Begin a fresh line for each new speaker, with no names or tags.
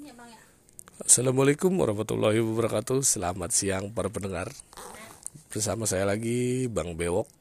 ya bang ya
Assalamualaikum warahmatullahi wabarakatuh Selamat siang para pendengar Bersama saya lagi Bang Bewok